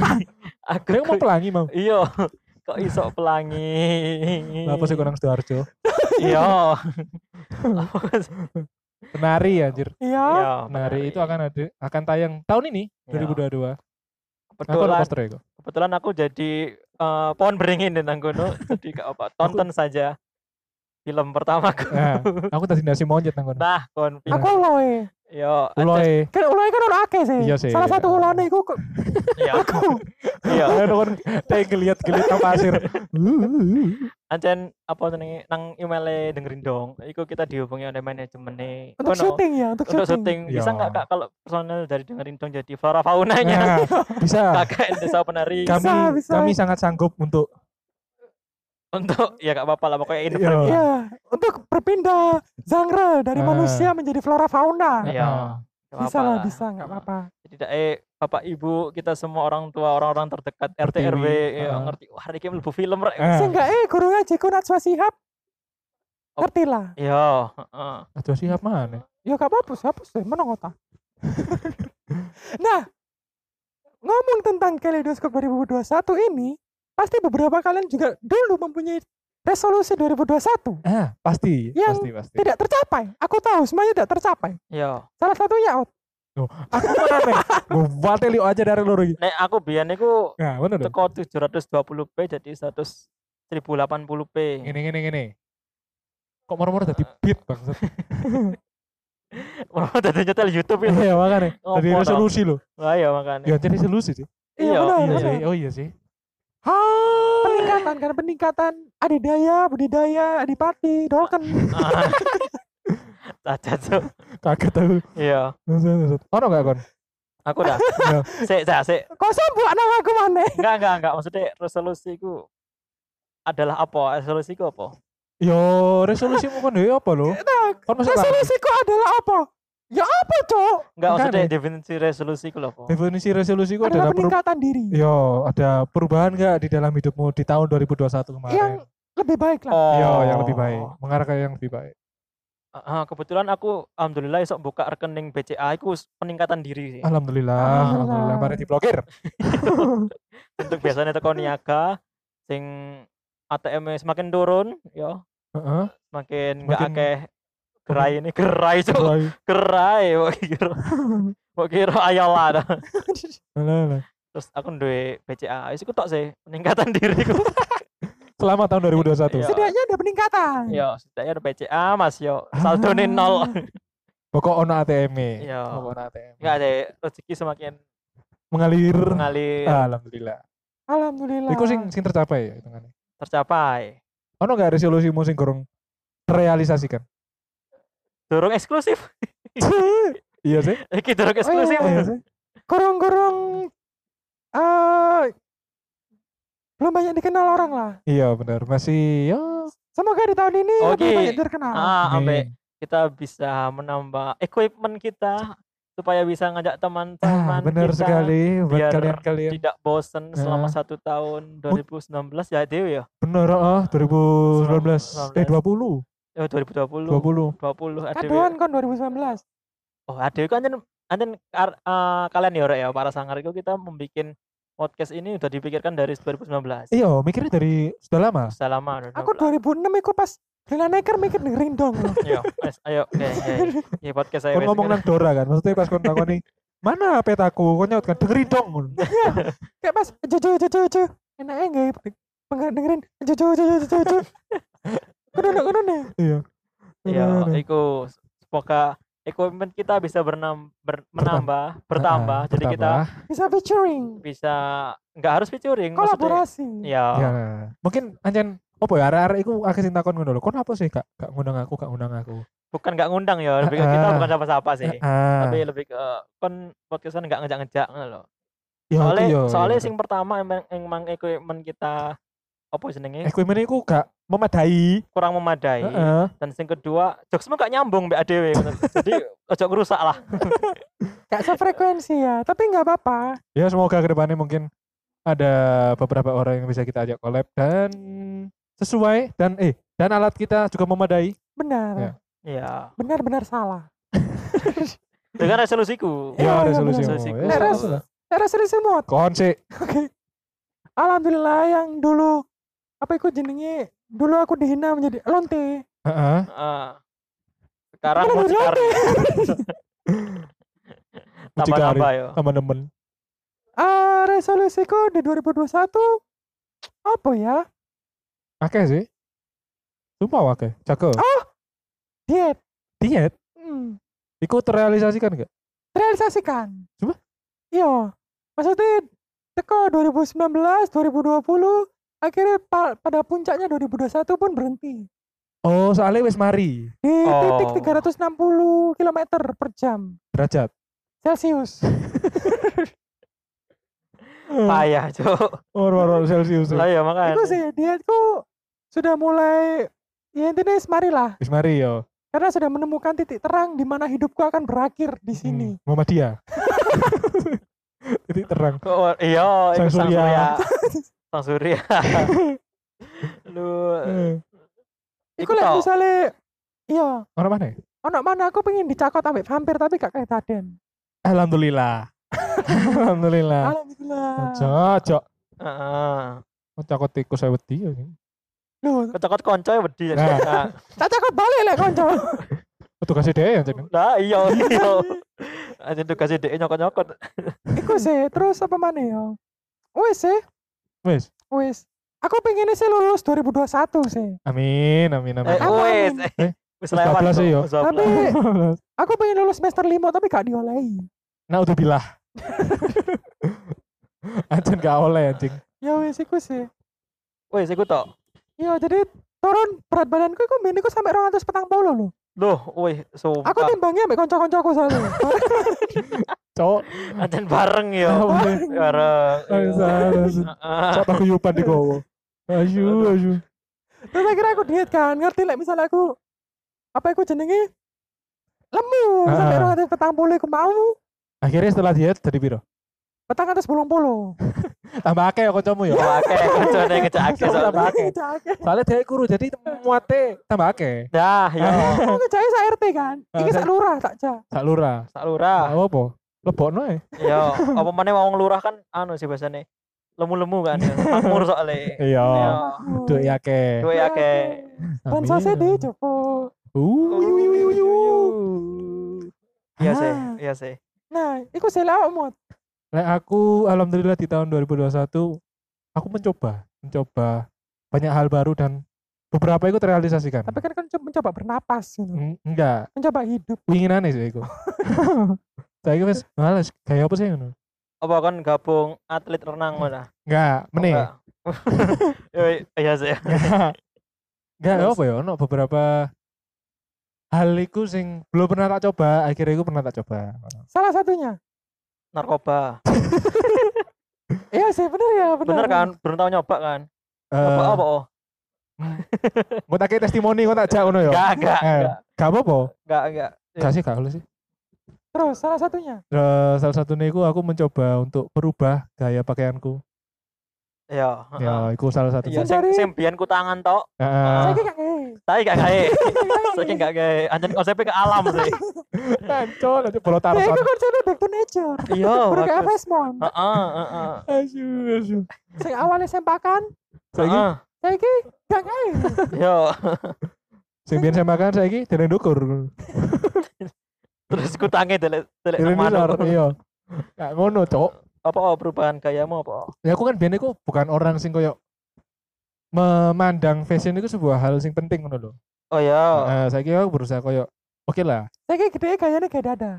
S1: aku
S4: Dia mau pelangi mau.
S1: iya [LAUGHS] kok iso pelangi
S4: Apa sih kurang Sidoarjo?
S1: iya Apa sih?
S4: Penari anjir.
S3: Iya.
S1: iya
S4: Penari
S1: benar.
S4: itu akan ada akan tayang tahun ini
S1: Iya.
S4: 2022. Aku ada
S1: kebetulan
S4: posternya kok.
S1: kebetulan aku jadi eh, pohon beringin di Nanggono jadi gak apa tonton saja film pertamaku
S3: [LAUGHS]
S4: Nah, aku terintimidasi monyet nang kono.
S1: nah konfi
S3: Aku loe.
S1: yo
S4: Uloe.
S3: Kan uloe kan ono akeh sih.
S4: Iya sih.
S3: Salah satu ulone iku kok-
S1: iya
S3: aku.
S1: [LAUGHS] iya
S4: Ayo kon teh geliat-geliat nang
S3: [LAUGHS]
S4: pasir.
S1: Ancen apa jenenge nang emailnya dengerin dong. Iku kita dihubungi oleh manajemennya.
S3: Untuk
S1: Kono,
S3: syuting ya, untuk
S1: Untuk
S3: syuting.
S1: syuting bisa
S4: Iya.
S1: nggak kak kalau personel dari dengerin dong jadi flora
S3: [LAUGHS]
S1: faunanya
S4: Nah, bisa.
S1: kakak desa penari
S4: Kami
S3: Iya. Bisa, bisa.
S4: kami sangat sanggup untuk
S1: untuk ya gak apa-apa lah pokoknya
S4: Iya.
S1: ini film.
S3: Iya, untuk berpindah genre dari
S4: Ah.
S3: manusia menjadi flora fauna.
S1: Iya.
S4: Heeh.
S1: Gak
S3: Bisa
S1: apa-apa
S3: lah,
S1: lah.
S3: bisa, nggak apa-apa.
S1: Jadi dak- eh bapak ibu kita semua orang tua orang-orang terdekat RT
S4: Pertiwi,
S1: RW ya
S4: heeh.
S1: ngerti wah ini mlebu film rek.
S4: Ah.
S3: Sing gak eh guru ngaji ku Najwa Shihab. Ngerti lah.
S1: Iya, heeh.
S4: Eh, Aduh siap mana?
S3: Ya gak apa-apa, hapus deh, menang [LAUGHS] otak. nah, ngomong tentang Kaleidoskop 2021 ini, pasti beberapa kalian juga dulu mempunyai resolusi 2021
S4: Ah, pasti,
S3: Yang
S4: pasti, pasti.
S3: tidak tercapai. Aku tahu semuanya tidak tercapai.
S1: Iya.
S3: Salah satunya out.
S4: Aku mana nih? Gue bateli aja dari loro iki.
S1: Nek aku biyen niku
S4: Nah, bener dong.
S1: teko 720p jadi 100 1080p.
S4: Gini, gini, gini. Kok moro-moro jadi beat bangsat.
S1: Mau [LAUGHS] dadi nyetel YouTube itu.
S4: [LAUGHS] Iya, makanya.
S3: Oh,
S4: Jadi
S1: Ngopo,
S4: resolusi loh.
S1: Wah ya makanya.
S4: Ya, jadi resolusi sih.
S3: Iya, benar,
S4: Iya
S3: benar.
S4: sih. Oh iya sih.
S3: Peningkatan kan peningkatan adidaya, budidaya, adipati, [LAUGHS] dolken.
S1: Ah. Cacat tuh.
S4: Kaget aku.
S1: Iya.
S4: Bangsat, bangsat. Ono enggak kon?
S1: Aku dah.
S4: Iya.
S1: [LAUGHS] Sik, sik, sik.
S3: Kok sombong nama aku mana?
S1: Enggak, enggak, enggak. Maksudnya resolusiku adalah apa? Resolusiku apa?
S4: Yo, resolusimu kon dhewe apa lo? Kon masuk kan?
S3: Resolusiku adalah apa? Ya apa, Cok?
S1: Enggak,
S4: Enggak,
S1: maksudnya
S4: Nek.
S1: definisi resolusiku lho apa?
S4: Definisi resolusi ku
S3: Adalah
S4: adalah Iya, perubahan.
S3: peningkatan diri.
S4: Yo, ada perubahan enggak di dalam hidupmu di tahun 2021
S3: Yang
S4: kemarin?
S3: lebih baik lah.
S1: Oh.
S4: Yo, Iya, yang lebih baik. Mengarah ke yang lebih baik.
S1: Ah, kebetulan aku alhamdulillah esok buka rekening BCA aku peningkatan diri
S4: [LAUGHS]
S1: sih.
S4: Alhamdulillah, alhamdulillah
S3: Alhamdulillah.
S4: kemarin diblokir.
S1: Untuk biasanya teko niaga sing ATM -nya e semakin turun ya,
S4: Heeh.
S1: semakin enggak
S4: Semakin-
S1: akeh gerai ini gerai cuk
S4: Mulai.
S1: gerai kok kira kok kira ayolah dah.
S4: Alah, alah.
S1: terus aku duwe BCA ya wis iku tok sih peningkatan [LAUGHS] diriku
S4: Selamat tahun 2021.
S1: Iya.
S3: Setidaknya ada peningkatan.
S1: yo setidaknya ada BCA mas yo saldone nol [LAUGHS]
S4: Pokok ono ATM.
S1: Iya.
S4: Pokok ono ATM.
S1: enggak deh rezeki semakin
S4: Mengalir.
S1: mengalir
S4: Ah. Alhamdulillah.
S3: Alhamdulillah.
S4: Iku sing sing tercapai ya hitungannya.
S1: tercapai
S4: Ono gak resolusimu sing gorong
S1: [LAUGHS]
S4: terrealisasikan?
S1: dorong eksklusif [LAUGHS]
S4: iya sih.
S1: iki dorong eksklusif
S4: Iya
S3: iya.
S4: sih.
S3: Gorong-gorong eh belum banyak dikenal orang lah.
S4: Iya benar. Masih yo.
S3: Semoga di tahun ini lebih
S1: Oke.
S3: banyak terkenal.
S1: ah ampe
S4: amin.
S1: kita bisa menambah equipment kita supaya bisa ngajak teman-teman
S4: Ah, benar
S1: kita
S4: sekali buat
S1: biar
S4: kalian-kalian.
S1: tidak bosen
S4: Ah.
S1: selama satu tahun 2019 ya Dewi ya
S4: Benar oh, 2019 eh
S1: 19.
S4: 20
S1: eh, 2020
S4: 20.
S1: 20 Adewi
S3: Kaduan kon 2019.
S1: oh Adewi kan anjen anjen kar- eh, kalian ya Rek, ya para sangar itu kita membuat podcast ini udah dipikirkan dari 2019
S4: Iya, mikirnya dari sudah lama.
S1: sudah lama
S3: Aku 2006 iku pas Lena Necker mikir dengerin dong.
S1: ayo wes, ayo oke
S4: [LAUGHS]
S3: [LAUGHS]
S1: oke. ya podcast saya
S4: Kon
S1: wes,
S4: ngomong
S1: kan.
S4: nang Dora kan. Maksudnya pas kon
S1: [LAUGHS]
S4: takoni, "Mana petaku?" Kon nyaut kan, "Dengerin dong."
S3: Iya. Kayak pas jojo jojo jojo. Enaknya enggak ya peng- dengerin jojo jojo jojo jojo. Kudu kudu nih.
S4: Iya.
S1: Iya,
S4: Benar, benar.
S1: iku semoga equipment kita bisa bernam, ber- menambah, bertambah.
S4: Ah,
S1: Jadi kita
S4: bertambah.
S3: Bisa featuring,
S1: bisa nggak harus featuring, maksudnya.
S3: kolaborasi.
S1: Ya,
S4: ya mungkin anjen opo ya arek-arek iku akeh sing takon ngono lho. Kon apa sih Kak? Gak ngundang aku, gak ngundang aku.
S1: bukan nggak ngundang ya lebih ke kita
S4: Ah.
S1: bukan siapa-siapa sih
S4: Ah,
S1: tapi lebih ke kon podcastan nggak ngejak-ngejak ngono loh
S4: ya aku
S1: soalnya
S4: ya,
S1: soalnya
S4: ya.
S1: sing pertama emang emang equipment kita apa jenenge
S4: equipment iku gak memadai.
S1: kurang
S4: Eh.
S1: memadai
S4: Heeh.
S1: dan sing kedua jokesmu gak nyambung mbak ADW ngono. jadi ojo ngerusak lah
S3: Gak sefrekuensi ya, tapi nggak apa-apa.
S4: Ya semoga kedepannya mungkin ada beberapa orang yang bisa kita ajak collab dan sesuai dan eh dan alat kita juga memadai.
S3: Benar.
S4: Ya.
S1: iya
S3: Benar-benar salah.
S1: dengan resolusiku
S3: Ya,
S4: Ya,
S3: ya,
S4: resolusi.
S3: benar.
S1: Resolusiku.
S4: Ya,
S3: Beres.
S4: resolusi.
S3: Era serius [LAUGHS] semut.
S4: Kon sih.
S3: Alhamdulillah yang dulu apa ikut jenenge dulu aku dihina menjadi lonte.
S4: Heeh.
S1: Heeh. sekarang
S3: Bener,
S1: mau
S3: bener,
S1: sekali
S4: Mucikari.
S1: [LAUGHS] tambah-tambah yo
S4: Teman-teman.
S3: Ah, resolusiku di 2021 apa ya?
S4: Akeh sih. Sumpah akeh. Cakep.
S3: Oh! Diet.
S4: Diet
S3: Hmm.
S4: iku terrealisasikan gak?
S3: Realisasikan.
S4: Coba?
S3: Iya. Maksudnya teko 2019, 2020 akhirnya pa- pada puncaknya 2021 pun berhenti
S4: Oh, soalnya wis mari
S3: di
S1: Oh.
S3: titik 360 km per jam
S4: derajat.
S3: Celsius.
S1: payah cok
S4: Orang-orang Celsius.
S1: lah ya
S3: Itu
S1: makanya
S3: sih dietku sudah mulai ya intinya marilah
S4: Wis mari yo.
S3: karena sudah menemukan titik terang di mana hidupku akan berakhir di sini.
S4: Hmm, Muhammadiyah. [LAUGHS] Titik terang.
S1: Oh, iya itu
S4: Sang
S1: sang
S4: Surya.
S1: surya
S4: [LAUGHS]
S1: sang surya lu
S4: Eh,
S3: Iku
S1: Iku
S3: lek
S1: tau.
S3: misalnya iya,
S4: Orang mana? ya?
S3: ono mana aku pengen dicakot ambek vampir tapi gak kayak Taden.
S4: Alhamdulillah. Alhamdulillah. Ah. Ojo,
S3: Alhamdulillah.
S4: ojo.
S1: heeh
S4: Ojo kok tikus saya wedi. yo.
S3: Loh,
S1: kocokot konco ya wedi ya.
S4: Nah.
S1: Nah,
S3: tak cakot balik lek
S4: [LAUGHS]
S3: konco.
S4: Petugas ide yang jeneng.
S1: Lah iya iya. Anjir tugasnya dhek nyokot-nyokot.
S3: Iku sih, terus apa mana ya? Wis sih,
S4: Wis.
S3: wis. Aku pengennya sih lulus 2021 sih.
S4: Amin, amin, amin.
S1: Eh
S3: Apa
S1: wes.
S4: ini? Wis
S1: Wis
S4: 12
S1: lewat.
S4: ya, yo.
S3: Tapi
S1: Tapi
S4: Eh, [LAUGHS]
S3: aku pengen lulus semester 5 tapi gak diolehi.
S4: nah udah [LAUGHS] bilah. anjing gak oleh anjing.
S3: Ya wis iku sih.
S1: wes iku tok.
S3: Iya, jadi turun berat badanku iku mbene iku sampe 240 loh.
S1: Loh, weh sumpah.
S3: Aku timbangnya ambek kanca-kancaku soalnya.
S4: Cok.
S1: Anjir bareng yo.
S4: Apa sih?
S1: Bareng.
S4: Ayo, salah.
S1: Heeh.
S4: Cok aku yupan di gowo. Ayu, ayu.
S3: Terus akhirnya aku diet kan, ngerti lah misalnya aku apa aku jenenge lemu
S4: Ah.
S3: sampai orang atas petang puluh aku mau
S4: Akhirnya setelah diet jadi piro?
S3: petang atas bolong puluh
S4: Tambah akeh ya kancamu ya.
S1: Oke, kocone ngejak akeh
S4: Sama
S1: soalnya.
S4: tambah akeh.
S3: [LAUGHS]
S4: Soalnya dia kuru jadi muate tambah akeh.
S1: Dah, yo.
S4: Nah.
S3: aku ngejai sak RT kan
S4: Ah,
S3: ini
S4: saya-
S3: sak lurah tak ja
S4: Sak lurah.
S1: Sak lurah.
S4: Apa apa? Lebokno ya.
S1: Yo, apa meneh wong lurah kan anu sih biasane. Lemu-lemu kan. ya. Makmur soalnya.
S4: Iya.
S1: Yo.
S4: Duh ya akeh.
S1: Duwe akeh.
S3: bansosnya
S4: Amin.
S3: deh Joko
S4: Uh, yu, yu, yu, yu.
S1: Iya sih,
S3: Ah.
S1: iya sih.
S3: nah iku sih lah mut
S4: Lek aku alhamdulillah di tahun 2021 aku mencoba, mencoba banyak hal baru dan beberapa itu terrealisasikan.
S3: tapi kan kan cuma mencoba bernapas gitu.
S4: Eng- enggak,
S3: mencoba hidup
S4: winginane sih iku. Saya iki wis males, kayak apa sih ngono?
S1: Apa kan gabung atlet renang mana?
S4: Enggak, meneh. [LAUGHS]
S1: Yo, iya sih.
S4: Enggak. Enggak
S1: Terus?
S4: apa ya, ono beberapa hal iku sing belum pernah tak coba, akhirnya iku pernah tak coba.
S3: salah satunya
S1: Narkoba.
S3: iya sih bener ya bener,
S1: Bener kan? Belum tahu nyoba kan?
S4: Eh.
S1: Nyoba apa oh?
S4: Mau tak kayak testimoni, kok tak jak ngono ya?
S1: Enggak, enggak,
S4: Eh, Gak apa-apa.
S1: enggak, enggak.
S4: Gak sih, gak boleh sih.
S3: terus salah satunya
S4: Eh, salah satunya iku aku mencoba untuk merubah gaya pakaianku.
S1: Iya, heeh.
S4: Ya, iku salah satu.
S1: Iya,
S4: Heeh.
S1: sing
S3: Mencari-
S1: sing biyen ku tangan tok,
S3: saya eh. kayak
S1: Ah.
S3: kayak
S1: tapi gak gawe. Saking gak gawe. Anjen konsepnya ke alam sih.
S4: Kancol aja bola
S3: saya
S1: [LAUGHS]
S4: tarsan.
S3: kan konsepnya back to nature
S1: Iya,
S3: Udah kayak
S1: bagus.
S3: FS Mon.
S1: Heeh, heeh.
S4: Asu, asu.
S3: Sing awalnya sempakan,
S4: Saiki
S1: Heeh. Iya.
S3: saiki gak kae.
S1: Yo,
S4: sing biyen saya makan saiki dereng dukur.
S1: terus ku tangi delek delek
S4: Dereng
S1: nang
S4: dukur.
S1: manuk.
S4: Iya. Gak ngono, Cok.
S1: Apa oh, perubahan gayamu apa? oh?
S4: Ya aku kan biyen iku bukan orang sing koyo memandang fashion itu sebuah hal sing penting ngono lho.
S1: Oh ya,
S4: Heeh, saiki aku berusaha koyo oke lah.
S3: Saiki gede gayane kayak dada.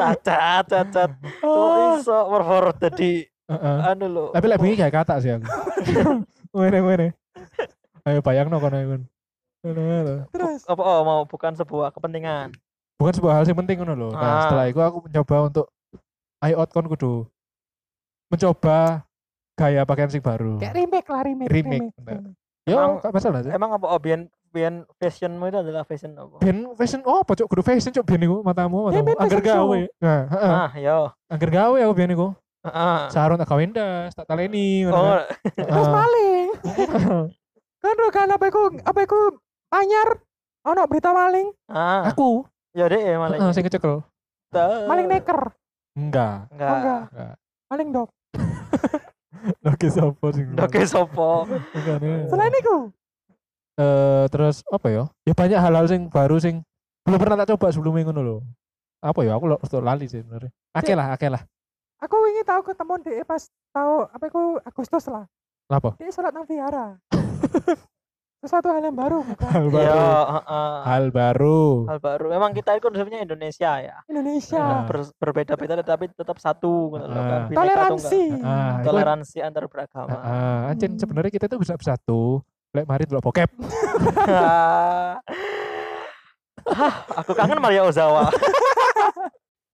S1: cacat cacat.
S3: Oh,
S1: Kok iso perfor dadi
S4: Heeh.
S1: anu lho.
S4: Tapi
S1: [LAUGHS]
S4: lek bengi gak kata sih aku. Ngene ngene. Ayo bayangno kono iku.
S3: Terus
S1: apa oh, mau bukan sebuah kepentingan
S4: bukan sebuah hal yang penting ngono loh.
S1: Ah.
S4: Nah, setelah itu aku mencoba untuk I out kon kudu mencoba gaya pakaian sing baru.
S3: kayak remake lah remake.
S4: Remake, bener.
S3: remake.
S4: Yo,
S1: Emang-
S4: gak masalah sih.
S1: emang apa oh, bian bian fashionmu itu adalah fashion apa
S4: Ben fashion oh pojok kudu fashion cuk ben iku matamu
S3: Ya,
S4: matamu.
S3: ben
S4: Angger
S3: fashion show.
S4: gawe. Nah, heeh.
S1: ah yo
S4: Angger gawe aku ben iku.
S1: Heeh.
S4: Sarung tak gawe ndas, tak taleni
S1: oh Ah.
S4: ngono.
S3: Terus
S4: Ah.
S3: maling. kan lo kan apa iku apa iku anyar ono berita maling,
S1: ah
S4: Aku
S1: ya deh maling
S4: heeh sing kecekel.
S3: maling
S1: Eh.
S3: neker.
S4: Enggak.
S3: Oh,
S1: gitu. enggak
S3: enggak,
S4: enggak. [LAUGHS]
S3: maling dok.
S4: Oke sapa sing.
S1: Oke sopo
S4: Enggak, enggak.
S3: Selain itu,
S4: eh terus apa ya? Ya banyak hal-hal sing baru sing belum pernah tak coba sebelumnya ngono lho. Apa ya aku lo- lo- lali sih sebenarnya. Akeh lah, akeh lah.
S3: aku ingin tahu ketemu dia pas tahu apa iku Agustus lah.
S4: Lapo?
S3: Dia sholat nang
S4: [LAUGHS]
S3: vihara. Sesuatu hal yang baru bukan
S4: Hal
S1: yo
S4: baru.
S1: heeh.
S4: Hal baru.
S1: hal baru emang kita itu sebenarnya Indonesia ya
S3: Indonesia.
S4: Ah.
S1: Ber- berbeda-beda tetapi tetap satu gitu loh kan
S4: Ah.
S1: Bineka
S3: Iya. Toleransi.
S4: Ah,
S1: tunggal-
S4: itu-
S1: toleransi antar beragama
S4: Ah, anjir
S3: Hmm.
S4: sebenarnya kita tuh bisa bersatu. Lek mari delok bokep. ah.
S1: [LAUGHS] Hah, aku kangen Maria Ozawa